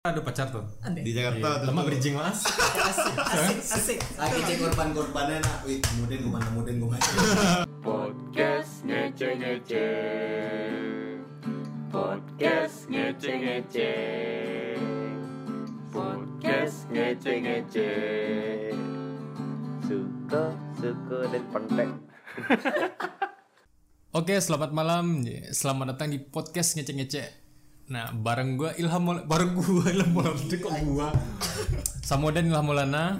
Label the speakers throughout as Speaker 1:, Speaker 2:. Speaker 1: ada pacar tuh Iya.
Speaker 2: Ande.
Speaker 3: di Jakarta
Speaker 1: lama bridging mas
Speaker 2: Asik, asik, asik.
Speaker 3: lagi cek korban korbannya nak wih kemudian gue mana kemudian gue mana
Speaker 4: Podcast ngece ngece. Podcast ngece ngece. Podcast ngece ngece. Suka suka dan pendek.
Speaker 1: oke selamat malam selamat datang di podcast ngece ngece nah bareng gua Ilham Maul- bareng gua Ilham Maulana Dek, kok gua sama dan Ilham Maulana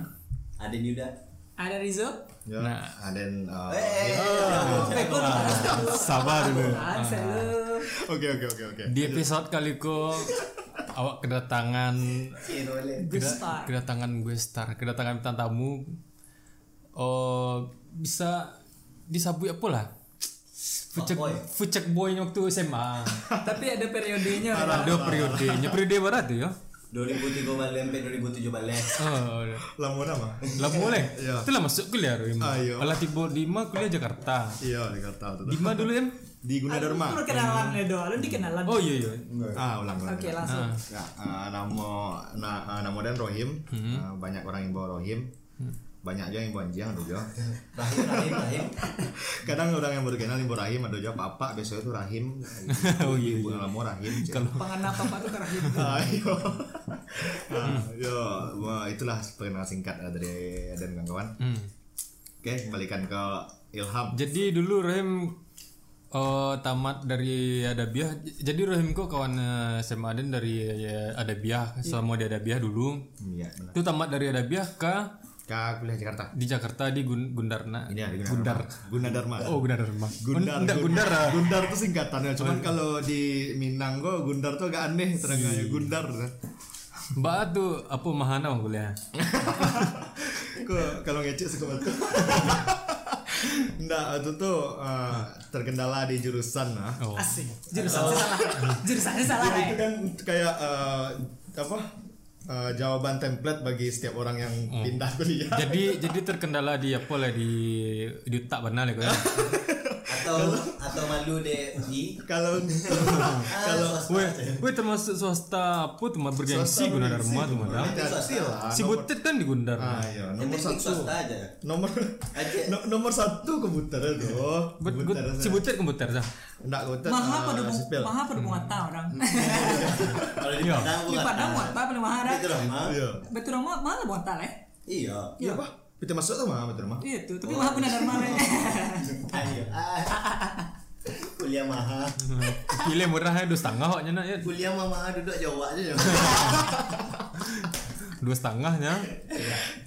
Speaker 3: ada Yuda
Speaker 2: Ada Rizo?
Speaker 1: nah
Speaker 5: ada
Speaker 2: Eh, gua lupa kasih
Speaker 1: sabar dulu
Speaker 2: tahu. Selalu.
Speaker 5: oke oke oke oke
Speaker 1: di episode kali ku awak kedatangan
Speaker 3: Cirole
Speaker 1: keda-
Speaker 2: Good start.
Speaker 1: kedatangan gue star kedatangan bintang tamu oh bisa disabui apa lah Fucek,
Speaker 3: Fuckboy.
Speaker 1: fucek boy waktu SMA
Speaker 2: Tapi ada periodenya.
Speaker 1: Ada periodenya Periode barat tuh ya
Speaker 3: 2003 balik sampai 2007 balik
Speaker 1: Oh,
Speaker 5: lama nama
Speaker 1: lah boleh.
Speaker 5: Iya.
Speaker 1: Itulah masuk kuliah tuh. Ima.
Speaker 5: Ayo.
Speaker 1: Olah tiba Dima kuliah Jakarta.
Speaker 5: iya Jakarta tuh
Speaker 1: Dima dulu em.
Speaker 5: di Gunadarma
Speaker 2: Lu kenalan Edo, lu dikenalan.
Speaker 1: Oh iya iya.
Speaker 5: ah ulang ulang
Speaker 2: Oke, langsung.
Speaker 5: ya eh, nama na, eh, nama dan Rohim
Speaker 1: Hmm.
Speaker 5: Eh, banyak orang yang bawa Rohim banyak juga yang bawa Anjing ada juga
Speaker 3: Rahim Rahim Rahim
Speaker 5: kadang orang yang baru kenal yang bawa Rahim ada juga Papa biasanya tuh Rahim
Speaker 1: Oh, iya,
Speaker 5: ibu nama Rahim
Speaker 1: Kalau
Speaker 2: Pengenap apa tuh karena gitu.
Speaker 5: ayo Ah, yo wah, itulah perkenalan singkat eh, dari dan kawan-kawan
Speaker 1: Hmm.
Speaker 5: oke kembalikan ke Ilham
Speaker 1: Jadi dulu Rahim eh, tamat dari Adabiah. J- Jadi Rahim kok kawan eh, SMA Aden dari eh, Adabiah selama di Adabiah dulu.
Speaker 5: iya benar
Speaker 1: Itu tamat dari Adabiah ke
Speaker 5: Kak kuliah Jakarta
Speaker 1: di Jakarta di Gun- Gundarna.
Speaker 5: Ini ada
Speaker 1: Gundar.
Speaker 5: Gunadarma.
Speaker 1: Oh Gundarma.
Speaker 5: Gundar.
Speaker 1: Enggak
Speaker 5: Gun-
Speaker 1: Gundar. ah. Oh, iya.
Speaker 5: Gundar tuh singkatannya. Cuman kalau di Minanggo Gundar tuh agak aneh terangnya Gundar.
Speaker 1: Mbak tuh apa mahana bang kuliah?
Speaker 5: Kok kalau ngecek suka banget. Nggak, itu tuh eh, terkendala di jurusan
Speaker 1: Ah.
Speaker 5: nah.
Speaker 1: Oh. Iya,
Speaker 2: Asik. Jurusannya salah. Jurusannya salah.
Speaker 5: Jadi
Speaker 2: eh.
Speaker 5: itu kan kayak eh, apa? eh, jawaban template bagi setiap orang yang pindah kuliah.
Speaker 1: Oh. jadi jadi terkendala di apa lah di di tak benar ya kau ya.
Speaker 3: atau atau malu deh UI
Speaker 5: Kalau kalau
Speaker 1: Weh, weh termasuk swasta apa tuh mah bergengsi
Speaker 5: Swasta
Speaker 1: Gunadarma
Speaker 5: bergengsi,
Speaker 1: tuh mana?
Speaker 5: bergengsi. Jadi lah,
Speaker 1: Si
Speaker 5: nomor-
Speaker 1: Butet kan di Gundar.
Speaker 5: Ah, iya,
Speaker 3: yang
Speaker 5: nomor
Speaker 3: penting
Speaker 5: satu.
Speaker 3: swasta aja
Speaker 5: Nomor
Speaker 3: Aje.
Speaker 5: no- nomor satu komputer itu.
Speaker 1: Bet- gut- si Butet komputer sah.
Speaker 5: Enggak komputer.
Speaker 2: Maha
Speaker 5: ah,
Speaker 2: pada
Speaker 5: sipil.
Speaker 2: maha pada
Speaker 1: Hmm.
Speaker 2: muata orang.
Speaker 3: kalau di
Speaker 1: Iya.
Speaker 3: Padang
Speaker 2: Di
Speaker 3: bukan
Speaker 2: Padang muata paling mahal.
Speaker 3: itu loh mah
Speaker 5: Iya.
Speaker 2: Betul rumah malah muata leh.
Speaker 3: ha? iya
Speaker 5: Iya, Pak. Kita masuk tuh mah betul mah.
Speaker 2: eh. Iya, Itu, tapi
Speaker 1: Oh,
Speaker 2: maha punya eh. dharma leh.
Speaker 3: ayo Ah. kuliah maha
Speaker 1: Pilih murah ya dua setengah hoknya nak ya
Speaker 3: kuliah mama duduk Jawa aja ya
Speaker 1: dua setengahnya.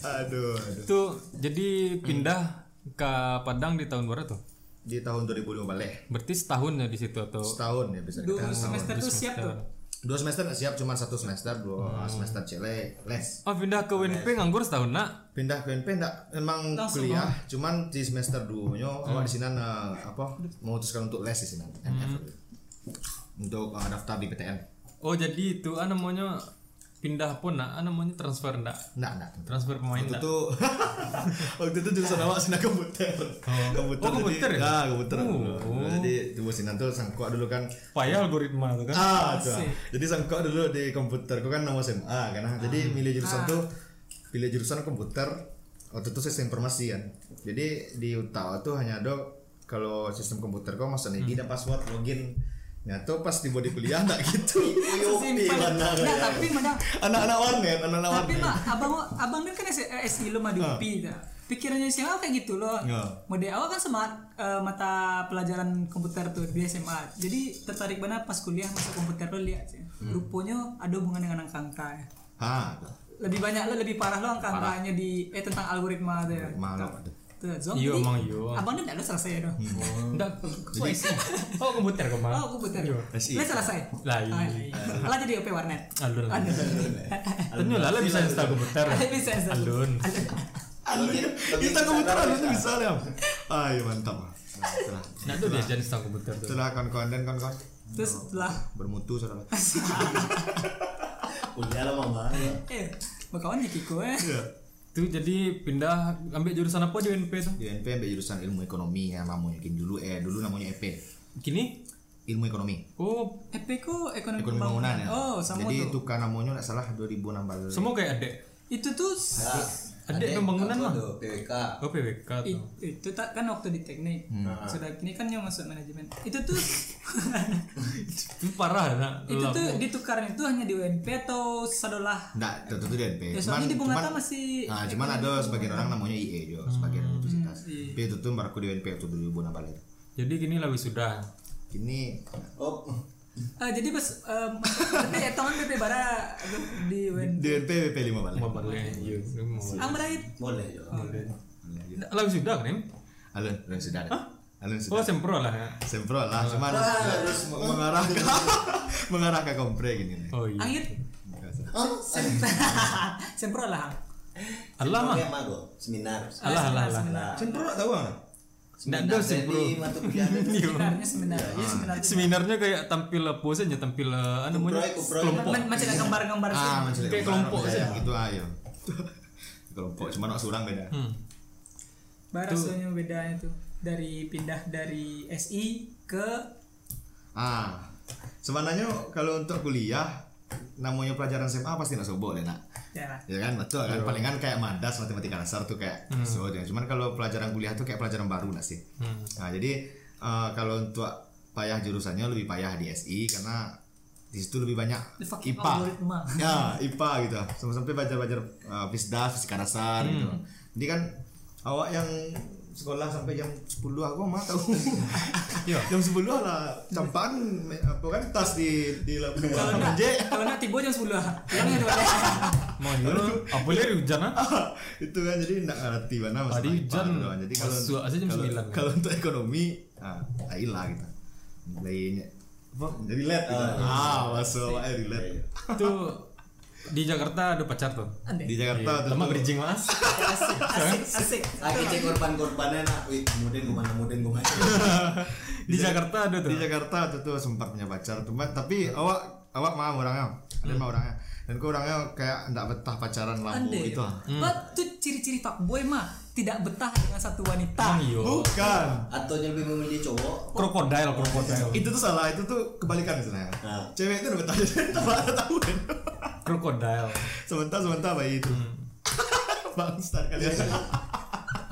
Speaker 5: Aduh, aduh.
Speaker 1: Tuh jadi pindah ke Padang di tahun berapa tuh?
Speaker 5: Di tahun 2005 balik.
Speaker 1: Berarti setahunnya di situ atau
Speaker 5: Setahun ya bisa
Speaker 2: Dua
Speaker 5: dikatakan.
Speaker 2: semester tuh siap tuh.
Speaker 5: Dua semester nggak siap, cuma satu semester, dua semester cele les.
Speaker 1: Oh pindah ke WNP nganggur setahun nak.
Speaker 5: Pindah ke UNP enggak emang
Speaker 2: Langsung,
Speaker 5: kuliah, cuman di semester 2 nya awak di sini eh, apa memutuskan untuk les di sini.
Speaker 2: Hmm.
Speaker 5: Untuk eh, daftar di PTN.
Speaker 1: Oh jadi itu ah namanya pindah pun nak ah namanya transfer nak.
Speaker 5: Enggak, enggak.
Speaker 1: Transfer pemain
Speaker 5: waktu
Speaker 1: nak.
Speaker 5: itu waktu itu jurusan awak sinar komputer komputer
Speaker 1: Oh, komputer
Speaker 5: jadi,
Speaker 1: ya?
Speaker 5: ah komputer
Speaker 1: Oh.
Speaker 5: dulu. jadi dulu sinar tuh sangkok dulu kan
Speaker 1: Payah algoritma tuh kan.
Speaker 5: ah tuh. jadi sangkok dulu di komputer kau kan nama SMA kan ah. jadi milih jurusan tuh pilih jurusan komputer waktu itu sistem informasi kan jadi di Utawa tuh hanya ada kalau sistem komputer kau masuk
Speaker 1: Hmm.
Speaker 5: ID dan password login Nah, tuh pas tiba di kuliah enggak gitu. ya.
Speaker 2: Sesimpel.
Speaker 3: mana
Speaker 2: Nah, tapi mana
Speaker 5: Anak-anak warnet, anak-anak warnet.
Speaker 2: Tapi mak, abang abang kan kan S- SI lo mah di UPI dah. Pikirannya si awal kayak gitu loh.
Speaker 5: Ya.
Speaker 2: Mode awal kan semat eh, mata pelajaran komputer tuh di SMA. Jadi tertarik banget pas kuliah masuk komputer lo lihat sih. Rupanya ada hubungan dengan angka angka.
Speaker 5: Ha, tuh.
Speaker 2: Lebih banyak lo lebih parah lo angka angkanya di eh tentang algoritma tuh. ya.
Speaker 5: Malah tuh.
Speaker 2: Tuh, Zom.
Speaker 1: Iya,
Speaker 2: jadi
Speaker 1: emang iya.
Speaker 2: Abang udah lo selesai ya dong.
Speaker 1: Enggak. Oh, komputer kok
Speaker 2: Oh, komputer.
Speaker 1: Iya.
Speaker 2: Lo selesai.
Speaker 1: Lain.
Speaker 2: Ah, iya. Lah jadi OP warnet.
Speaker 1: Alun.
Speaker 2: Aduh.
Speaker 1: Tentu lah, lah bisa install komputer.
Speaker 2: Bisa, bisa.
Speaker 1: Alun.
Speaker 5: Kita kebetulan itu bisa ya. Ayo mantap. Nah, Itulah.
Speaker 1: Nah, tuh dia jadi install komputer tuh.
Speaker 5: Itulah kawan-kawan dan kawan-kawan
Speaker 2: Terus lah
Speaker 5: bermutu saudara.
Speaker 3: kuliah lah mama ya.
Speaker 2: Eh, bakawan ya Kiko eh.
Speaker 5: Iya.
Speaker 1: Tuh jadi pindah ambil jurusan apa di UNP tuh?
Speaker 5: Di UNP ambil jurusan ilmu ekonomi ya, mamu yakin dulu eh dulu namanya EP.
Speaker 1: Kini
Speaker 5: E ilmu ekonomi
Speaker 1: Oh,
Speaker 2: EPEKO ekonomi,
Speaker 5: ekonomi bangunan ya
Speaker 2: Oh, sama
Speaker 5: jadi
Speaker 2: tuh.
Speaker 5: itu karena namanya nggak salah 2016
Speaker 1: semua kayak adek.
Speaker 2: Itu tuh s-
Speaker 3: Nah,
Speaker 1: Adek pembangunan
Speaker 3: aku
Speaker 1: lah.
Speaker 3: tuh, PWK.
Speaker 1: Oh, PWK
Speaker 5: Iya.
Speaker 2: i-
Speaker 1: tuh.
Speaker 2: itu tak kan waktu di teknik.
Speaker 5: Hmm.
Speaker 1: Nah.
Speaker 2: Sudah ini kan yang masuk manajemen. Itu tuh
Speaker 1: Itu parah nak.
Speaker 2: itu
Speaker 1: Lah.
Speaker 2: tuh ditukarnya itu hanya di UNP atau sadolah.
Speaker 5: Nggak, tentu itu di NP.
Speaker 2: Ya, soalnya di Bungata masih E Hmm,
Speaker 5: Nah, cuman ada sebagian orang namanya IE juga, sebagian universitas. Tapi itu tuh baru di NP waktu 2016 balik.
Speaker 1: Jadi gini lah wisuda.
Speaker 5: Ini
Speaker 3: Oh,
Speaker 2: Ah, jadi pas eh, tapi etongan BP bara di UNP.
Speaker 5: di NP BP 5 balik.
Speaker 1: Mau balik. Iya, lu mau balik.
Speaker 2: Ang berait.
Speaker 3: boleh ya.
Speaker 1: Nggak Lah wisuda kan? Im?
Speaker 5: Alun, alun sudah. ada. Alun
Speaker 1: Oh,
Speaker 5: sudah.
Speaker 1: sempro lah. ya.
Speaker 5: Sempro lah, cuman
Speaker 3: terus
Speaker 5: mengarah ke mengarah ke kompre gini. nih.
Speaker 1: Oh iya.
Speaker 2: Angit
Speaker 3: Oh, sem-
Speaker 2: sempro lah. Eh, Hang.
Speaker 1: Allah mah.
Speaker 3: Sempro emang, gua, seminar.
Speaker 1: Alah alah alah.
Speaker 5: Sempro tahu nggak?
Speaker 1: Nggak ada sempro.
Speaker 3: Jadi mata kuliah ada
Speaker 2: Sebenarnya sebenarnya
Speaker 1: Iya,
Speaker 2: ya sebenarnya.
Speaker 1: Seminarnya kayak tampil eh, pose aja tampil eh, apa namanya
Speaker 3: Kuproy, kuproy.
Speaker 1: kelompok.
Speaker 2: Ma- Macam ada gambar-gambar sih.
Speaker 5: Ah, mencari
Speaker 1: Kayak
Speaker 5: orang,
Speaker 1: kelompok
Speaker 5: kayak gitu ayo. ah, kelompok cuman orang seorang beda.
Speaker 1: Hmm.
Speaker 2: Barasanya bedanya tuh dari pindah dari SI ke
Speaker 5: Ah, sebenarnya kalau untuk kuliah namanya pelajaran SMA pasti nak sobok deh nak.
Speaker 2: ya
Speaker 5: Ya kan betul kan palingan kayak madas matematika dasar tuh kayak so ya. cuman kalau pelajaran kuliah tuh kayak pelajaran baru nggak sih. Nah, jadi eh, kalau untuk payah jurusannya lebih payah di SI karena di situ lebih banyak
Speaker 2: The fucking
Speaker 5: IPA.
Speaker 2: algoritma.
Speaker 5: Ya, IPA gitu. Sampai-sampai belajar-belajar eh, fisda, fisika dasar gitu. Jadi kan awak yang sekolah sampai jam 10 aku mah tahu. jam 10 lah campan me- apa kan tas di di lab.
Speaker 2: Kalau nak tiba jam 10 lah. Pulangnya dua belas.
Speaker 1: Mau iya. Apa lihat hujan ah?
Speaker 5: itu kan jadi nggak ngerti mana masalah
Speaker 1: Tadi
Speaker 5: IPA
Speaker 1: hujan,
Speaker 5: doang. jadi kalau
Speaker 1: masuk aja jam
Speaker 5: kalau,
Speaker 1: 9.
Speaker 5: kalau untuk ekonomi ah air lah kita lainnya apa relate gitu. ah Iya, masuk air relate
Speaker 1: Tuh di Jakarta ada pacar tuh.
Speaker 2: Ande.
Speaker 5: di Jakarta
Speaker 1: Iya,
Speaker 5: tentu-
Speaker 1: Lama bridging mas.
Speaker 2: Asik, asik, asik.
Speaker 3: Lagi cek korban-korbannya nak. Wih, kemudian gua mana, kemudian gua mana.
Speaker 1: Di Jakarta ada
Speaker 5: di
Speaker 1: tuh. Iya.
Speaker 5: Jakarta tuh tuh sempat punya pacar cuma tapi awak awak mau orangnya ada
Speaker 1: Hmm.
Speaker 5: mau orangnya dan kau orangnya kayak nggak betah pacaran lama
Speaker 2: Ande.
Speaker 5: gitu ah.
Speaker 2: But tuh ciri-ciri fuckboy mah tidak betah dengan satu
Speaker 1: Emang
Speaker 2: wanita.
Speaker 1: iya.
Speaker 5: bukan
Speaker 3: Atau yang lebih memilih cowok.
Speaker 1: Krokodil krokodil.
Speaker 5: itu tuh salah itu tuh kebalikan sebenarnya
Speaker 3: Ah.
Speaker 5: cewek itu udah betah jadi tak tahu kan
Speaker 1: Krokodil.
Speaker 5: sebentar sebentar bayi itu Hmm. bangsa kalian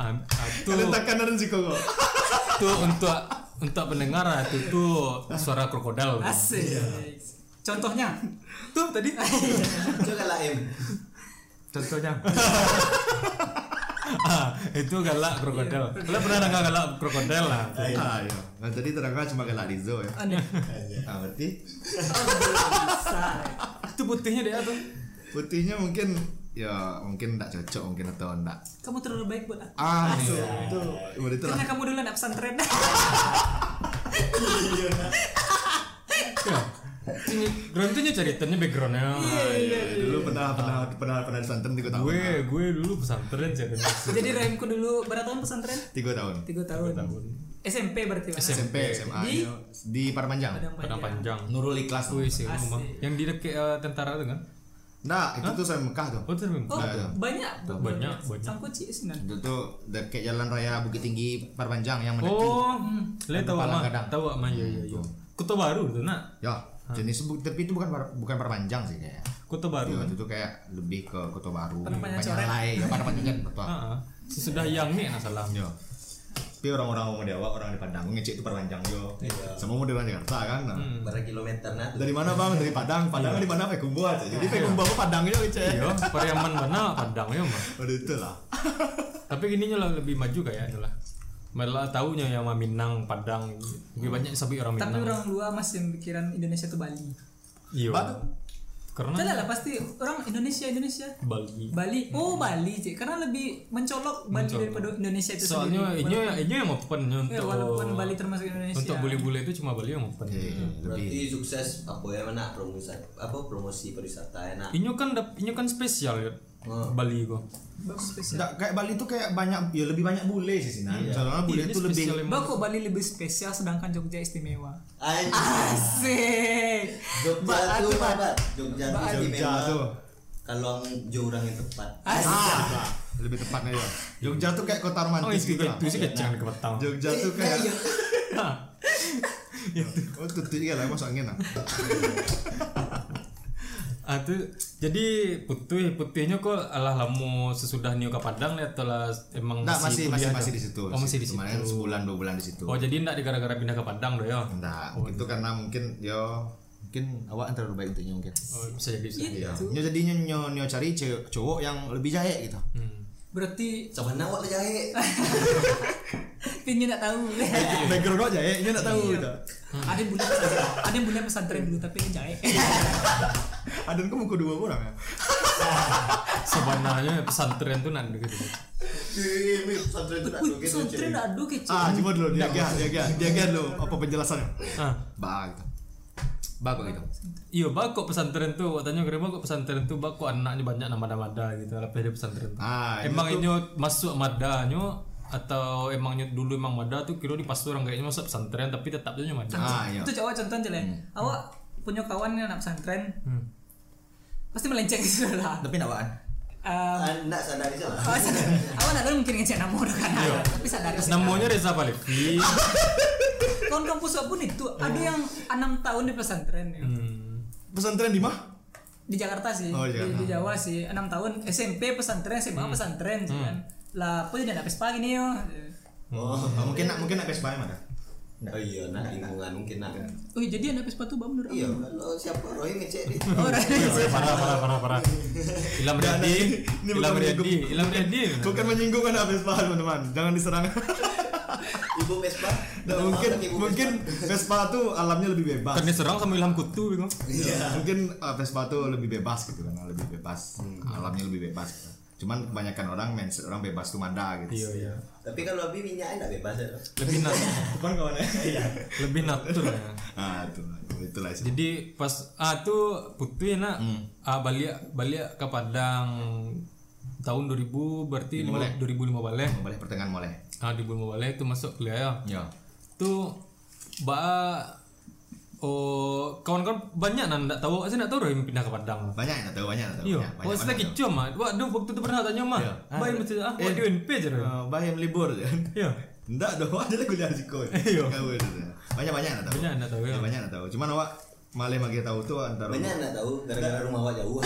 Speaker 1: Am- ah, Tuh
Speaker 5: Kalian tak kanan sih kok.
Speaker 1: tuh untuk untuk pendengar ah, tuh tuh suara krokodil. tuh.
Speaker 2: Asik. Contohnya tuh tadi.
Speaker 3: Coba lah em.
Speaker 1: Contohnya. ah, itu galak krokodil. Kalian pernah nggak galak krokodil lah?
Speaker 5: Ah, iya. Nah, tadi terangkan cuma ke Larizo ya.
Speaker 2: Ande.
Speaker 5: Ah, berarti
Speaker 2: Bisa.
Speaker 1: Itu putihnya dia tuh.
Speaker 5: putihnya mungkin ya mungkin tidak cocok mungkin atau enggak.
Speaker 2: Kamu terlalu baik buat aku.
Speaker 5: Ah, itu. Itu Udah itu lah.
Speaker 2: Karena kamu dulu anak pesantren.
Speaker 1: Ya. Ini Ron tuh ceritanya backgroundnya. ah.
Speaker 5: Iya, Dulu pernah pernah pernah pernah pesantren 3 tahun.
Speaker 1: Gue gue dulu pesantren ceritanya.
Speaker 2: Jadi rahimku dulu berapa tahun pesantren?
Speaker 5: 3 tahun.
Speaker 2: Tiga tahun. SMP berarti mas.
Speaker 5: SMP, SMA
Speaker 2: Di-
Speaker 5: yo. di Parmanjang.
Speaker 2: Padang
Speaker 1: Padang
Speaker 2: Panjang.
Speaker 1: panjang.
Speaker 5: iya. Nurul Ikhlas.
Speaker 1: Wih sih, ngomong. Yang di dekat eh, tentara itu kan?
Speaker 5: Nah, itu tuh saya Mekah tuh.
Speaker 1: Oh, terus
Speaker 2: Oh,
Speaker 5: Ada.
Speaker 2: banyak.
Speaker 1: Banyak, banyak.
Speaker 2: Sangkuci sebenarnya.
Speaker 5: Itu tuh dekat jalan raya Bukit Tinggi Parmanjang yang mendaki.
Speaker 1: Oh, lihat tahu
Speaker 5: Kepala Iya,
Speaker 1: mah,
Speaker 5: kadang.
Speaker 1: tahu mah ya ya ya. Kota Baru tuh nak,
Speaker 5: Ya, jenis bu- tapi itu bukan par- bukan Parmanjang sih kayaknya.
Speaker 1: Kota Baru.
Speaker 5: Iya, itu tuh kayak lebih ke Kota Baru.
Speaker 2: Panjang
Speaker 5: Banyak
Speaker 2: Coret.
Speaker 5: lain, ya pada panjang betul.
Speaker 1: Ah, ah. sesudah
Speaker 5: Iya.
Speaker 1: yang nih nak salah.
Speaker 5: Yo. Tapi orang-orang mau dewa, orang di Padang, ngecek itu perpanjang yo.
Speaker 1: Iya.
Speaker 5: Semua mau orang Jakarta kan. nah.
Speaker 1: Hmm.
Speaker 3: Berapa kilometer nah tuh?
Speaker 5: Dari mana bang? Dari Padang. Padang kan di mana? Pekumbu aja. Jadi Pekumbu apa Padang gitu ya. yo ngecek.
Speaker 1: Yo, Iya, Pariaman mana Padang ya mah.
Speaker 5: Waduh itu lah.
Speaker 1: Tapi gininya lah lebih maju kayaknya lah. Malah taunya yang mah Minang, Padang. Lebih banyak sabi orang
Speaker 2: Tapi
Speaker 1: Minang.
Speaker 2: orang luar masih pikiran Indonesia ke Bali.
Speaker 1: Iya. Karena
Speaker 2: Tidak lah pasti orang Indonesia Indonesia.
Speaker 1: Bali.
Speaker 2: Bali, oh Bali cik, karena lebih mencolok Bali daripada Indonesia itu
Speaker 1: Soalnya
Speaker 2: sendiri.
Speaker 1: ini ini yang open
Speaker 2: Wala- eh,
Speaker 1: untuk
Speaker 2: walaupun Bali ya. termasuk Indonesia.
Speaker 1: untuk bule-bule itu cuma Bali yang open.
Speaker 5: Iya, lebih.
Speaker 3: Berarti sukses apa ya mana promosi apa promosi pariwisata ya, enak.
Speaker 1: Inyo kan dap- inyo kan spesial ya.
Speaker 5: Oh.
Speaker 1: Bali kok.
Speaker 2: Bagus spesial.
Speaker 5: Nggak, kayak Bali tuh kayak banyak ya lebih banyak bule sih sih. Nah, soalnya bule
Speaker 1: Iya. Ini
Speaker 5: tuh lebih
Speaker 1: spesial emang.
Speaker 2: Bah, kok Bali lebih spesial sedangkan Jogja istimewa.
Speaker 5: Ah.
Speaker 3: Anjir.
Speaker 2: Asik.
Speaker 3: Jogja tuh Pak. Jogja tuh
Speaker 5: Jogja
Speaker 3: istimewa.
Speaker 5: tuh.
Speaker 3: Kalau jurang yang tepat. Iya.
Speaker 5: Ah, lebih tepatnya yo. Jogja tuh kayak kota
Speaker 1: Oh,
Speaker 5: romantis
Speaker 1: itu Iya,
Speaker 5: gitu. lah.
Speaker 3: Iya,
Speaker 1: itu sih kecil ke Batam.
Speaker 5: Jogja tuh kayak
Speaker 1: iya.
Speaker 5: oh tutup juga lah masuk angin lah
Speaker 1: Ah, tu, jadi putih putihnya kok alah lamu sesudah nio ke Padang lihat telah emang
Speaker 5: Nggak, masih masih
Speaker 1: kuliah
Speaker 5: masih
Speaker 1: dah?
Speaker 5: di situ
Speaker 1: Oh, masih di situ.
Speaker 5: Kemarin sebulan dua bulan di situ
Speaker 1: Oh, jadi enggak di gara-gara pindah ke Padang doh ya.
Speaker 5: Nggak, itu karena mungkin yo mungkin awak yang terlalu baik untuknya mungkin
Speaker 1: Oh, bisa jadi bisa.
Speaker 5: Iya. Nyo jadinya nyo nyo cari cewek- cowok yang lebih jahe gitu.
Speaker 1: Hmm.
Speaker 2: Berarti
Speaker 3: Coba nak awak jahe.
Speaker 2: pinnya nggak tahu.
Speaker 1: Iya, Hmm.
Speaker 5: Background aja ya, nyo nggak tahu gitu.
Speaker 2: ada yang bulan pesantren, ada yang bulan pesantren dulu tapi ini jahe.
Speaker 5: Adan kamu kudu dua orang ya.
Speaker 1: Sebenarnya pesantren tuh nanti gitu.
Speaker 3: Ini pesantren itu nak
Speaker 2: Wih,
Speaker 3: joget tu, cuy.
Speaker 2: pesantren aduh kecil.
Speaker 5: Ah, coba dulu dia dia dia dia dia dulu apa penjelasannya?
Speaker 1: Ah.
Speaker 5: Bah gitu. Bah kok gitu.
Speaker 1: Iya, bak kok pesantren tuh, katanya kira kok pesantren tuh bak kok anaknya banyak nama mada gitu, apa dia pesantren. tuh.
Speaker 5: Ah,
Speaker 1: emang inyo masuk madanya atau emangnya dulu emang mada tuh kira di pas orang kayaknya masuk pesantren tapi tetap aja mada.
Speaker 5: Ah, iya.
Speaker 2: Itu cowok contoh aja lah. Awak punya kawan yang anak pesantren,
Speaker 1: Hmm.
Speaker 2: pasti melenceng gitu lah.
Speaker 5: Tapi enggak
Speaker 2: Um,
Speaker 3: Anak sadar je lah.
Speaker 2: awak sadar, awak nak dulu mungkin ngecek nama orang kan? Tapi sadar.
Speaker 1: Namanya Reza Palevi.
Speaker 2: Kawan kampus aku pun itu ada yang enam tahun di pesantren ya.
Speaker 1: Hmm.
Speaker 5: Pesantren di mah?
Speaker 2: di Jakarta sih
Speaker 5: Oh,
Speaker 2: di,
Speaker 5: Jakarta.
Speaker 2: di Jawa sih enam tahun SMP pesantren SMA pesantren sih kan lah apa jadi anak ya? pagi nih yo
Speaker 1: Hmm.
Speaker 3: Oh.
Speaker 5: Oh, mungkin nak mungkin nak Vespa emang ada. Nah.
Speaker 3: Oh iya nak lingkungan mungkin nak.
Speaker 2: oh jadi anak pespa tuh bang menurut
Speaker 3: Iya, kalau siapa Roy ngecek dia.
Speaker 2: aku. oh right.
Speaker 1: parah parah parah parah. Ilham Riyadi,
Speaker 5: ini
Speaker 1: Ilham
Speaker 5: bukan
Speaker 1: Riyadi,
Speaker 5: menyinggung.
Speaker 1: Ilham Riyadi.
Speaker 5: Bukan menyinggung anak Vespa teman-teman. Jangan diserang.
Speaker 3: Ibu Vespa.
Speaker 5: Nah,
Speaker 3: Nama
Speaker 5: mungkin
Speaker 3: Ibu
Speaker 5: mungkin Vespa tuh alamnya lebih bebas.
Speaker 1: Kan diserang sama Ilham Kutu bingung.
Speaker 5: Iya. Mungkin uh, Vespa tuh lebih bebas gitu kan, lebih bebas, alamnya lebih bebas. Gitu. Cuman kebanyakan orang mindset orang bebas tuh manda gitu.
Speaker 1: Iya iya.
Speaker 3: Vespa. Tapi kalau Abi minyaknya enggak bebas ya.
Speaker 1: Lebih nat,
Speaker 5: Bukan kawannya. Iya.
Speaker 1: lebih natur ya.
Speaker 5: Ah, itu itulah itu.
Speaker 1: Jadi pas ah tuh putih nak
Speaker 5: Hmm.
Speaker 1: ah balik balik ke Padang tahun 2000 berarti lima, 2005 balik.
Speaker 5: Boleh pertengahan boleh.
Speaker 1: Ah 2005 balik itu masuk kuliah ya.
Speaker 5: Iya.
Speaker 1: Tuh ba oh kawan-kawan banyak nan enggak tahu saya enggak tahu yang pindah ke Padang.
Speaker 5: Banyak yang nggak tahu, banyak yang nggak tahu.
Speaker 1: Iya,
Speaker 5: banyak, banyak,
Speaker 1: oh saya
Speaker 5: banyak
Speaker 1: kecil mah. Waduh, waktu itu pernah tanya mah.
Speaker 5: Iya.
Speaker 1: Baik mesti ah,
Speaker 5: Eh.
Speaker 1: buat di UNP aja.
Speaker 5: tahu.
Speaker 1: Roy.
Speaker 5: Eh, bah yang libur ya.
Speaker 1: Iya.
Speaker 5: Enggak dong, ada lagi kuliah siko.
Speaker 1: Iya.
Speaker 5: gitu. Banyak banyak yang nggak tahu.
Speaker 1: Banyak enggak tahu ya.
Speaker 5: Iya, Banyak yang nggak tahu. Cuman awak malah magi tahu tuh antara
Speaker 3: Banyak nak tahu gara-gara rumah awak jauh.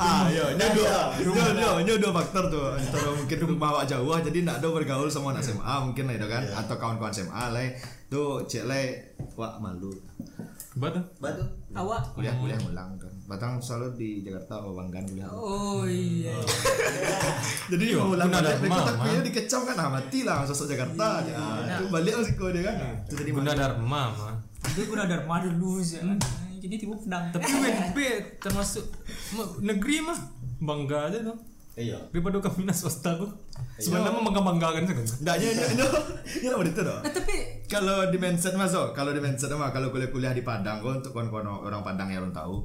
Speaker 5: ah iya nyo dua nyo nyo nyo dua faktor tuh antara mungkin rumah awak jauh lah, jadi nak ada bergaul sama anak SMA mungkin lah itu kan atau kawan-kawan SMA lah tuh cek lah wak malu
Speaker 1: Batu.
Speaker 3: Batu.
Speaker 2: awak
Speaker 5: kuliah kuliah ulang kan batang selalu di Jakarta Banggan kuliah
Speaker 2: oh iya
Speaker 5: jadi
Speaker 1: iya,
Speaker 5: ulang
Speaker 1: guna
Speaker 5: balik
Speaker 1: dharma,
Speaker 5: kita
Speaker 1: mah.
Speaker 5: kuliah dikecam kan ah mati lah sosok Jakarta aja itu balik lah siko dia kan itu jadi
Speaker 1: Bunda Dharma mah.
Speaker 2: dia guna dharma dulu sih kan. jadi tiba pedang
Speaker 1: Tapi UNP termasuk ma- negeri mah bangga aja tuh.
Speaker 3: Iya.
Speaker 1: Daripada kami nas swasta tuh. Sebenarnya mah bangga banggakan sih.
Speaker 5: enggaknya nyo nyo nyo lah begitu dong
Speaker 2: nah, tapi
Speaker 5: kalau di mindset mas oh, kalau di mindset mah kalau kuliah-kuliah di Padang kok untuk kawan-kawan orang Padang yang belum tahu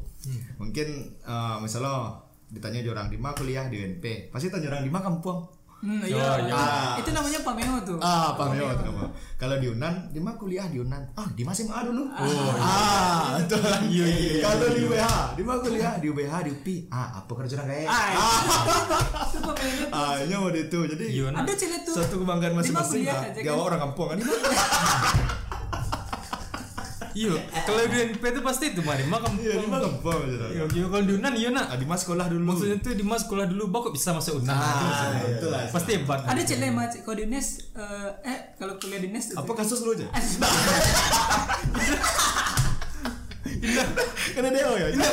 Speaker 5: mungkin eh, misalnya ditanya di orang Dima kuliah di UNP pasti tanya orang Dima kampung
Speaker 2: hmm, iya,
Speaker 1: Oh, iya.
Speaker 2: itu namanya pameo tuh
Speaker 5: ah pameo tuh nama. kalau di Unan Dima kuliah di Unan ah Dima SMA dulu ah itu iya, iya, kalau di UBH Dima kuliah di UBH di UPI ah apa kerja orang kayak
Speaker 2: ah, itu pameo
Speaker 5: ah ini mau itu jadi
Speaker 1: Iya, nah.
Speaker 2: ada cewek tuh
Speaker 5: satu kebanggaan masing-masing
Speaker 2: kuliah
Speaker 5: lah
Speaker 2: aja kan.
Speaker 5: gawa orang kampung kan
Speaker 1: Iya. Kalau di UNP tuh pasti itu mari mah kamu.
Speaker 5: iya Dima kampung aja
Speaker 1: Iya, iya. kalau di Unan iya nak.
Speaker 5: ah Dima sekolah dulu
Speaker 1: Maksudnya tuh di mas sekolah dulu bak kok bisa masuk Unan. Iya,
Speaker 5: ah itu lah
Speaker 1: Pasti hebat.
Speaker 2: ada cewek mah cek kalau di UNES eh, eh kalau kuliah di UNES
Speaker 5: apa kasus lu aja? Kena DO ya?
Speaker 1: Enggak,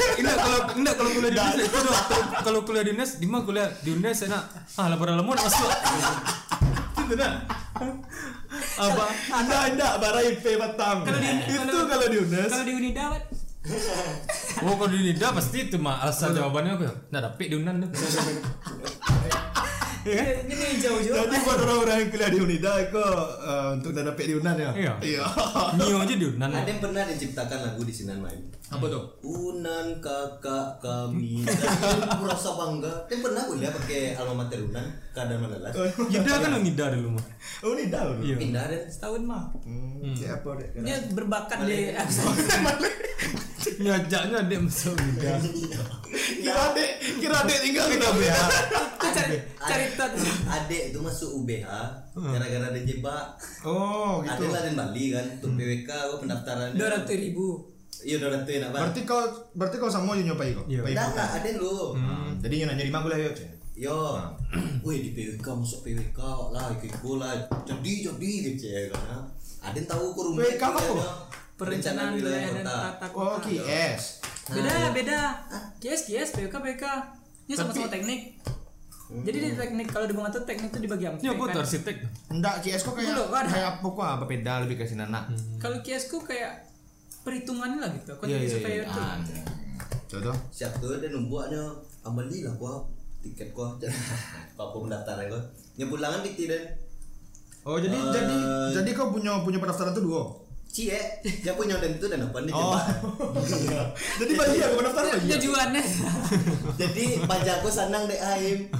Speaker 1: enggak kalau enggak kalau kuliah di UNES itu doang. Kalau- Kalau kuliah di UNES, di mah kuliah di UNES enak. Ah, lapar lemu nak masuk. Itu dah.
Speaker 5: Apa? Anda anda barai IP batang. Nah, Itu kalau di UNES.
Speaker 2: kalau di Unida Mat,
Speaker 1: Oh, kalau di Nida pasti itu mah alasan jawabannya aku. Enggak dapet di Unan tuh.
Speaker 5: Iya.
Speaker 2: ini jauh-jauh
Speaker 5: Jadi buat orang-orang yang kuliah di Unida, kok eh, untuk dan dapat di Unan ya?
Speaker 1: Iya.
Speaker 5: Iya.
Speaker 1: Mio aja di Unan.
Speaker 3: Ada yang pernah diciptakan lagu di Sinan Main.
Speaker 5: Apa tuh?
Speaker 3: Unan kakak kami Aku rasa bangga Kan pernah kuliah pakai alma mater Unan Keadaan mana
Speaker 5: Oh,
Speaker 3: lah
Speaker 1: Nida kan Nida dulu mah.
Speaker 5: Unida dulu.
Speaker 1: Iya.
Speaker 3: Pindah dan
Speaker 2: setahun mah
Speaker 5: Hmm, cek apa dek?
Speaker 2: dia berbakat di
Speaker 1: Nyajaknya adik masuk Nida.
Speaker 5: Kira dek, kira dek tinggal di ya.
Speaker 2: cari cari
Speaker 3: Adek-
Speaker 2: tat.
Speaker 3: Adek itu masuk UBH gara-gara ada jebak.
Speaker 5: Hmm. Oh
Speaker 3: Ada
Speaker 5: gitu. Hmm.
Speaker 3: Laden Bali kan untuk PWK gua pendaftaran.
Speaker 2: Dua ratus ribu.
Speaker 3: Iya udah rentuin apa?
Speaker 5: Berarti kau berarti kau sama Junyo Pai kau. Pai
Speaker 3: Udah
Speaker 5: kau.
Speaker 3: enggak ada lu.
Speaker 5: Hmm, Jadi Junyo jadi magulah yuk.
Speaker 3: Yo, wih di PWK masuk PWK lah, ikut gue lah, jadi jadi gitu ya kan? Ada yang tahu ke rumah?
Speaker 5: PWK apa?
Speaker 2: Perencanaan wilayah dan tata
Speaker 5: Oh
Speaker 2: kota. Nah, iya.
Speaker 5: KS.
Speaker 2: Beda beda. Kias kias PK PK. Ini sama-sama teknik. Jadi
Speaker 5: Hmm.
Speaker 2: di teknik kalau di Bunga tuh teknik itu dibagi empat.
Speaker 1: Ya, buat
Speaker 2: kan?
Speaker 1: arsitek.
Speaker 5: Enggak KS kok kayak
Speaker 2: Belum ada.
Speaker 5: kayak apa kok apa beda lebih ke sinana.
Speaker 2: Kalau kiasku kayak perhitungannya lah gitu. Kau
Speaker 5: Iya,
Speaker 2: jadi
Speaker 5: iya, Ah,
Speaker 2: survei
Speaker 5: iya.
Speaker 2: itu.
Speaker 5: Contoh.
Speaker 3: Siap tuh dan membuatnya amali lah gua tiket gua. Apa pendaftaran gua? Nyebut langan di dan
Speaker 5: Oh jadi jadi jadi kau punya punya pendaftaran tuh dua.
Speaker 3: cie, dia punya dan itu dan apa nih?
Speaker 5: Oh. jadi bagi aku pendaftaran lagi. ya?
Speaker 2: Tujuannya.
Speaker 3: Jadi pajakku sanang dek Aim.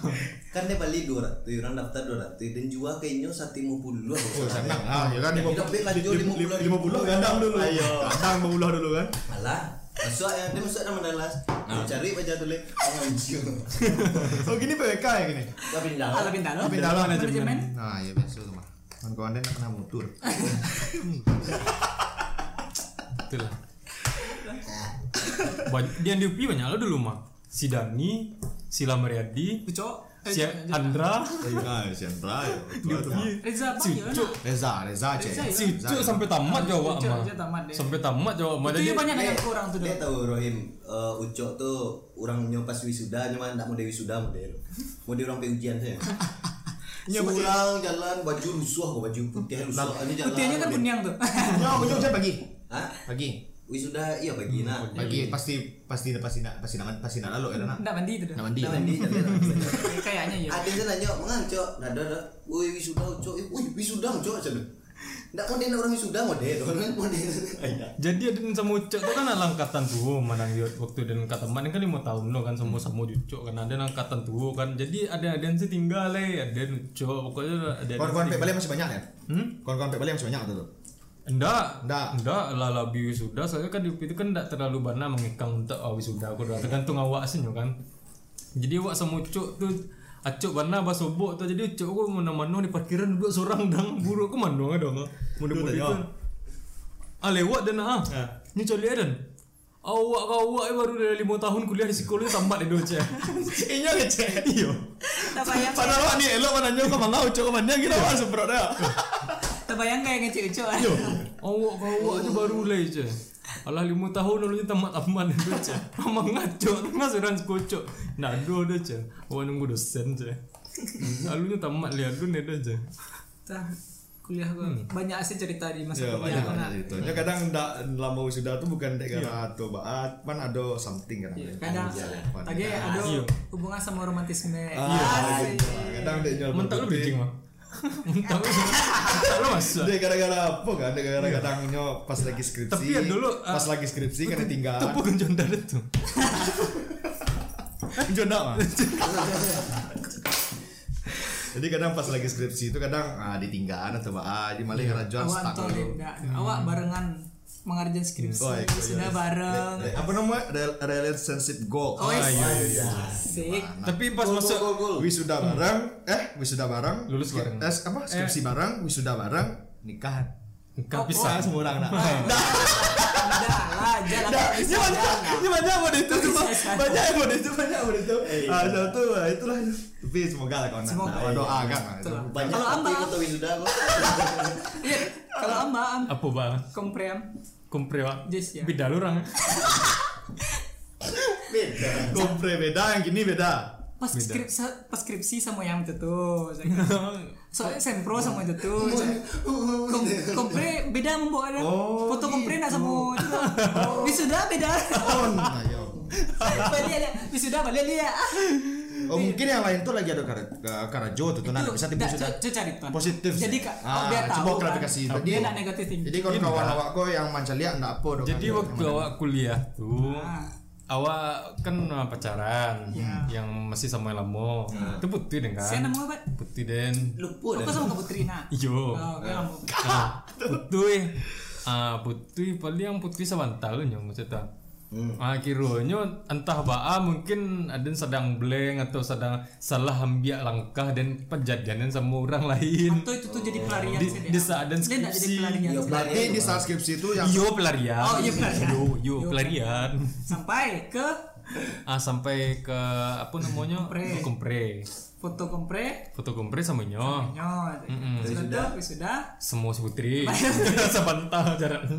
Speaker 3: Kan dia Bali 200, orang daftar 200 dan jual kayaknya 150.
Speaker 5: Oh senang ah ya kan
Speaker 3: Hidup dia lanjut 50.
Speaker 5: lima puluh gandang dulu.
Speaker 3: Ayo.
Speaker 5: Gandang lima puluh dulu kan.
Speaker 3: Alah, masuk ya, dia masuk nama Dallas.
Speaker 5: Ah.
Speaker 3: Dia cari pajak tulis. Anjir.
Speaker 5: Oh gini PWK ya gini.
Speaker 3: Tapi pindah.
Speaker 2: Ala pindalo.
Speaker 5: Pindalo
Speaker 2: Manajemen.
Speaker 5: Nah ya besok mah. Kan kawan dia pernah mutur.
Speaker 1: Itulah. Banyak, di NDP banyak lo dulu mah. Si Dani, si Lamariadi,
Speaker 2: Ucok. Eh,
Speaker 1: si Andra,
Speaker 5: Nah, Sandra.
Speaker 2: Reza apa
Speaker 1: si
Speaker 2: ya?
Speaker 1: Ucok.
Speaker 5: Reza, Reza cek.
Speaker 2: Reza, ya?
Speaker 1: Si Ucok sampai tamat jawab
Speaker 2: Ucok,
Speaker 1: mah.
Speaker 2: Ucok tamat deh.
Speaker 1: Sampai tamat jawab mah.
Speaker 2: Itu
Speaker 1: Jadi
Speaker 2: yang banyak
Speaker 5: Iya.
Speaker 3: Dia-
Speaker 2: yang kurang tuh
Speaker 3: Dia
Speaker 2: dong.
Speaker 3: tahu Rohim eh, Ucok tuh orang nyopas wisuda cuma enggak mau dewi wisuda mau dia. Mau dia orang pe ujian saya. Surang jalan baju rusuh kok baju putih rusuh. Ini jalan.
Speaker 2: Putihnya kan
Speaker 3: Dia-
Speaker 2: kuning tuh.
Speaker 5: Ya, punya ujian pagi.
Speaker 3: Hah?
Speaker 5: Pagi.
Speaker 3: Wisuda iya
Speaker 5: Hmm,
Speaker 3: pagi nah.
Speaker 5: Pagi pasti pasti pasti nak pasti nak pasti nak lalu ya nak.
Speaker 2: Enggak mandi itu
Speaker 5: Nak
Speaker 2: dong.
Speaker 5: mandi.
Speaker 3: Nah, ini jalan.
Speaker 2: Kayaknya ya.
Speaker 3: Ada yang nanya, mengancok, nggak ada ada. Woi wisuda cok, woi wisuda cok aja deh. Nggak mau dia orang wisuda mau deh, orang mau deh.
Speaker 1: jadi Adin sama Ucok tuh kan ada angkatan tuh menang dia waktu dan angkatan mana kan lima tahun lo kan semua sama Ucok kan ada angkatan tuh kan jadi ada ada yang sih tinggal le ada yang Ucok pokoknya ada ada
Speaker 5: Kawan-kawan pek balik masih banyak ya?
Speaker 1: Hmm?
Speaker 5: Kawan-kawan pek balik masih banyak tuh.
Speaker 1: Enggak,
Speaker 5: Ndak.
Speaker 1: enggak lah lebih sudah saya kan di itu kan enggak terlalu bana mengekang untuk awis sudah aku dah tergantung awak senyo kan. Jadi awak sama cuk tu acuk bana basobok tu jadi cuk aku mana-mana di parkiran duduk seorang dang buruk aku mana ada dong. Mudah-mudahan
Speaker 5: Duduk oh.
Speaker 1: kan. Ah lewat dan ah.
Speaker 5: Ha.
Speaker 1: Ni cari dan. Awak kau awak eh, baru dari lima tahun kuliah di sekolah tamat di doce.
Speaker 5: Inya kece. Iyo.
Speaker 2: Tak bayang.
Speaker 5: Padahal ni elok mana nyo kemana ucok kemana kita wah semprot dah.
Speaker 2: Tak bayang kayak ngecek Ucok.
Speaker 5: Iya.
Speaker 1: Awak kau awak je baru leh je. Alah lima tahun lalu je tamat aman dah je. Mama ngacok tengah seorang sekocok. Nado dah je. Awak nunggu dosen je. Lalunya tamat leh alun dah je.
Speaker 2: Tah, kuliah gua banyak sih cerita di masa
Speaker 5: Ya
Speaker 2: kuliah
Speaker 5: Hmm. banyak
Speaker 2: aku
Speaker 5: mana
Speaker 2: nak.
Speaker 5: itu. Ya kadang ndak lama sudah tuh bukan dek karena atau baat pan ada something kadang.
Speaker 2: Ya, kadang
Speaker 5: Pan.
Speaker 2: tadi ada
Speaker 1: Iya.
Speaker 2: hubungan sama romantisme
Speaker 5: Ah,
Speaker 2: Asik.
Speaker 5: gitu. Kadang dek jual
Speaker 1: Mentak lu
Speaker 5: putih.
Speaker 1: bijing mah. Mentak lu. Mentak lu masa.
Speaker 5: Dek gara-gara apa kan? Dek gara-gara kadang nyo pas lagi skripsi.
Speaker 1: Iya. Tapi ya dulu, ah,
Speaker 5: pas lagi skripsi kan tinggal.
Speaker 1: Tepu genjon dah tu.
Speaker 5: Jodoh mah. Jadi kadang pas lagi skripsi itu kadang ah, ditinggalan atau ah di
Speaker 1: Iya.
Speaker 5: malah kerajaan
Speaker 2: awak
Speaker 5: stuck
Speaker 2: entah
Speaker 5: dulu.
Speaker 2: tidak awak barengan mengerjakan skripsi
Speaker 5: Oh, iya, iya.
Speaker 2: sudah bareng
Speaker 5: Eh, Apa namanya? Rel- Relationship goal.
Speaker 2: oh iya iya
Speaker 1: Tapi pas masuk
Speaker 5: Wisuda bareng, eh wisuda bareng,
Speaker 1: Hmm. Lulus
Speaker 5: skri-
Speaker 1: bareng.
Speaker 5: eh, apa skripsi bareng, wisuda bareng, nikahan.
Speaker 1: Engkau pisah
Speaker 5: semua orang nak.
Speaker 2: udah lah
Speaker 5: Nah,
Speaker 2: jalan
Speaker 5: ini banyak, ini banyak yang itu, cuma
Speaker 2: Iya,
Speaker 5: banyak yang itu, banyak yang itu. Ah, satu, ah, itulah. Tapi semoga lah kawan.
Speaker 2: Semoga. Iya,
Speaker 5: Nah, doa kan.
Speaker 3: Banyak
Speaker 2: Kalau
Speaker 3: tapi
Speaker 2: ambang.
Speaker 3: atau wisuda kok.
Speaker 2: Iya, kalau amba am
Speaker 1: apa bang?
Speaker 2: komprem
Speaker 1: Komprewa.
Speaker 2: Jess, ya.
Speaker 1: Beda lu orang.
Speaker 3: Beda.
Speaker 5: Kompre beda, yang gini beda.
Speaker 2: pas skripsi pas skripsi sama yang itu tuh saya kata. soalnya sempro sama itu tuh saya- Kom- kompre beda membawa ada
Speaker 5: Oh,
Speaker 2: foto kompre nggak sama
Speaker 1: gitu.
Speaker 2: itu wisuda beda
Speaker 5: Oh, nah, yo.
Speaker 2: balik ada wisuda balik dia
Speaker 5: Oh, mungkin yang lain tuh lagi ada kar karajo tuh, tuh nah, bisa tipu
Speaker 2: Nggak,
Speaker 5: sudah.
Speaker 2: cu- cu cari tuan.
Speaker 5: Positif.
Speaker 2: Jadi
Speaker 5: sih.
Speaker 2: kak,
Speaker 5: Ah,
Speaker 2: dia tahu.
Speaker 5: coba
Speaker 2: kan.
Speaker 5: klarifikasi itu.
Speaker 2: Dia nggak negatif ini.
Speaker 5: Jadi kalau kawan awak kok yang mancalia enggak apa dong.
Speaker 1: Jadi
Speaker 5: kan?
Speaker 1: waktu awak kuliah tuh, awak kan uh, pacaran yang masih sama yang lama. Itu putih deh
Speaker 2: Saya
Speaker 1: kan?
Speaker 2: Iya. nama apa?
Speaker 1: Putih den.
Speaker 3: Lupa dah.
Speaker 2: Aku sama Kak Putrina.
Speaker 1: Yo.
Speaker 2: Oh, oke, kamu.
Speaker 1: Ah, Nah, putih. Ah, putih paling kan, yang putih sebentar loh yang maksudnya. Ah kiranya entah baa mungkin ada yang sedang blank atau sedang salah ambil langkah dan penjadianan sama orang lain.
Speaker 2: Atau itu tuh jadi pelarian
Speaker 1: Di,
Speaker 2: sih,
Speaker 1: di
Speaker 2: dia.
Speaker 1: saat dan
Speaker 2: Dia nggak jadi
Speaker 1: skripsi.
Speaker 2: pelarian.
Speaker 3: Iya, pelarian
Speaker 5: Berarti
Speaker 3: itu,
Speaker 5: di
Speaker 3: Bang.
Speaker 5: saat skripsi itu yang
Speaker 1: Yo pelarian.
Speaker 2: Oh, iya, pelarian.
Speaker 1: Yo yo pelarian.
Speaker 2: Sampai ke
Speaker 1: Ah sampai ke apa namanya?
Speaker 2: Kompre.
Speaker 1: Kompre.
Speaker 2: foto kompre.
Speaker 1: Foto kompre sama nyo.
Speaker 2: Nyol. Sudah, sudah.
Speaker 1: Semua putri. Sebantah jaraknya.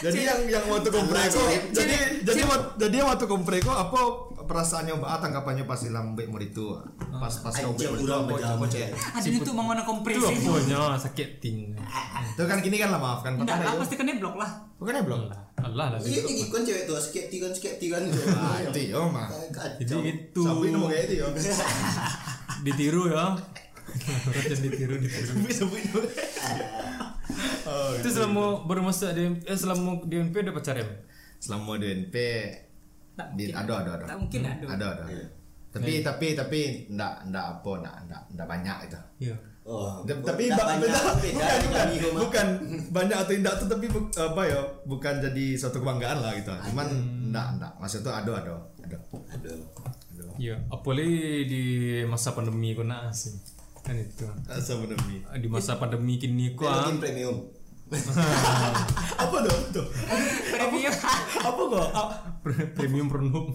Speaker 5: jadi yang yang waktu kompreko jadi jadi wa- jadi waktu kompreko apa perasaannya mbak Ah, tanggapannya pas silam baik itu pas pas kau
Speaker 3: Anjir,
Speaker 5: baik
Speaker 3: kurang
Speaker 5: murid tu,
Speaker 3: berjam.
Speaker 5: apa- apa-
Speaker 2: Ada itu mau mana kompre
Speaker 1: Itu
Speaker 2: sih.
Speaker 1: apanya sakit ting.
Speaker 5: apa- itu kan gini kan lah maafkan
Speaker 2: Enggak lah,
Speaker 5: pertama
Speaker 2: pasti kena blok lah.
Speaker 5: bukan ya belum
Speaker 1: Allah lah.
Speaker 3: Iya, ini kan cewek tua skepti kan skepti kan.
Speaker 5: Ah, itu ya, yo mah
Speaker 1: Jadi
Speaker 3: Kacau.
Speaker 1: itu
Speaker 5: sampai nomor kayak itu ya. yo
Speaker 1: ditiru ya. Orang yang ditiru ditiru. Itu selama bermasa di eh, selama di MP ada pacar ya?
Speaker 5: selama di NP
Speaker 2: Tak
Speaker 5: di
Speaker 2: mungkin.
Speaker 5: ada ada ada Hmm.
Speaker 2: Tak mungkin ada.
Speaker 5: ada ada tapi tapi tapi ndak ndak apa ndak ndak ndak banyak itu
Speaker 1: Iya.
Speaker 3: Oh,
Speaker 5: Da- tapi
Speaker 3: tak
Speaker 5: ba-
Speaker 3: banyak
Speaker 5: beda-
Speaker 3: beda
Speaker 5: bukan, bukan,
Speaker 3: kami rumah.
Speaker 5: bukan banyak atau tidak tuh tapi bu- apa ya bukan jadi suatu kebanggaan lah gitu cuman enggak enggak maksud tuh ada ada ada
Speaker 3: Aduh.
Speaker 1: Iya. Apalagi Ya. di masa pandemi kau nak sih. Kan itu.
Speaker 5: asa pandemi
Speaker 1: Di masa pandemi kini kau
Speaker 3: Mungkin
Speaker 1: ah,
Speaker 3: premium.
Speaker 5: apa dong tuh
Speaker 2: Premium.
Speaker 5: apa kok
Speaker 1: pre- premium penuh.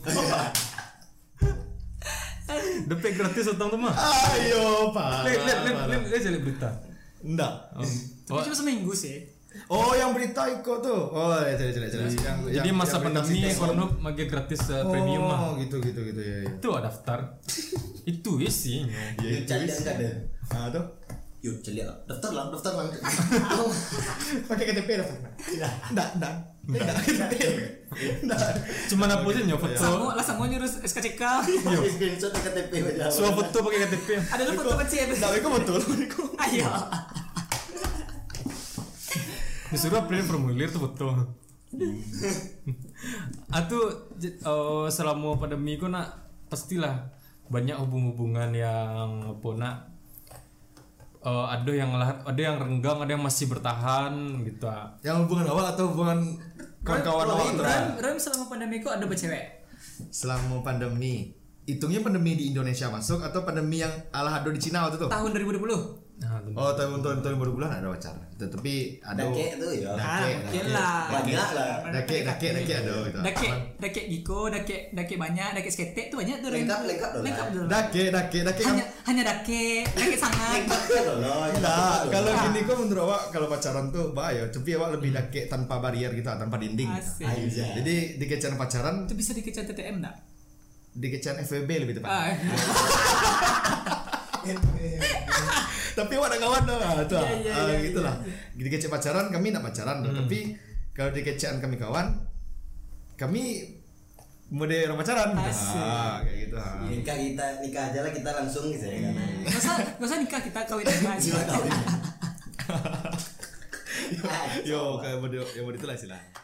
Speaker 1: Depek gratis datang tuh mah.
Speaker 5: ayo pak
Speaker 1: Lihat lihat lihat lihat lihat jadi berita.
Speaker 5: enggak
Speaker 2: Tapi cuma seminggu sih.
Speaker 5: oh yang berita Iko tuh oh ya jelas jelas jelas yang
Speaker 1: Jadi
Speaker 5: yang-
Speaker 1: masa
Speaker 5: yang berita
Speaker 1: pandemi
Speaker 5: si Iko.
Speaker 1: penuh magi gratis eh, premium mah.
Speaker 5: oh gitu gitu gitu ya ya
Speaker 1: Itu ada daftar. itu isinya.
Speaker 5: Ya,
Speaker 3: Yuk
Speaker 5: itu
Speaker 3: cari
Speaker 5: is-
Speaker 3: kan ada.
Speaker 5: ah tuh
Speaker 3: Yuk cari ah. daftar lah, daftar lah.
Speaker 5: pakai KTP dah enggak enggak enggak enggak enggak
Speaker 1: Cuman apa sih
Speaker 5: iya.
Speaker 1: nyoba foto?
Speaker 2: Sama lah sama nyurus SKCK.
Speaker 3: Pakai screenshot di KTP aja.
Speaker 1: Semua foto pakai KTP.
Speaker 2: Ada lu foto kecil.
Speaker 5: Enggak, Iko betul Iko
Speaker 2: Ayo.
Speaker 1: Disuruh print formulir tuh foto. Atau j- eh, selama pandemi kok nak pastilah banyak hubung-hubungan yang apa nak eh, ada yang lah- ada yang renggang, ada yang masih bertahan gitu. ah.
Speaker 5: yang hubungan awal atau hubungan kawan-kawan lah. awal
Speaker 2: Rem-
Speaker 5: tuh?
Speaker 2: Rem, Rem selama pandemi kok ada bercewek.
Speaker 5: selama pandemi hitungnya pandemi di Indonesia masuk atau pandemi yang ala hado di Cina waktu itu
Speaker 2: Tahun 2020.
Speaker 1: Nah, tentu.
Speaker 5: oh tahun tahun tahun baru bulan ada wacara Itu, tapi ada
Speaker 3: Dake tuh ya.
Speaker 2: Ah,
Speaker 5: Dake,
Speaker 2: mungkin
Speaker 5: dake.
Speaker 2: lah.
Speaker 3: Banyak lah.
Speaker 5: dake dake dake ada gitu
Speaker 2: Dake, dake Giko, dake dake banyak, dake sketek tuh banyak tuh. Rem.
Speaker 3: Lengkap, lengkap dong,
Speaker 2: Lengkap
Speaker 3: lah.
Speaker 2: dulu.
Speaker 5: dake dake dake
Speaker 2: Hanya hanya dake, dake sangat.
Speaker 3: Daftar dong, loh.
Speaker 5: Nah,
Speaker 3: Daftar
Speaker 5: kalau
Speaker 2: Ah.
Speaker 3: dong.
Speaker 5: gini kok menurut awak kalau pacaran tuh bahaya, tapi awak lebih dake tanpa barrier gitu, tanpa dinding.
Speaker 2: Asik.
Speaker 5: Gitu. Jadi di kecian pacaran,
Speaker 2: Itu bisa dikejar TTM enggak?
Speaker 5: di kecian FWB lebih tepat.
Speaker 2: Ah,
Speaker 5: tapi wadah kawan tuh ah, tuh ah.
Speaker 2: iya,
Speaker 5: Ah,
Speaker 2: iya, Hmm.
Speaker 5: gitulah di kece pacaran kami tidak pacaran tuh. tapi kalau di kecean kami kawan kami mode orang pacaran gitu.
Speaker 2: Asik. Iya.
Speaker 5: ah, kayak gitu ah.
Speaker 3: nikah kita nikah aja lah kita langsung gitu ya kan.
Speaker 2: Gak usah, gak usah nikah kita kawin
Speaker 5: Hmm.
Speaker 2: aja.
Speaker 3: Jiwa tahu.
Speaker 5: yo kayak mode ya mode itulah sih lah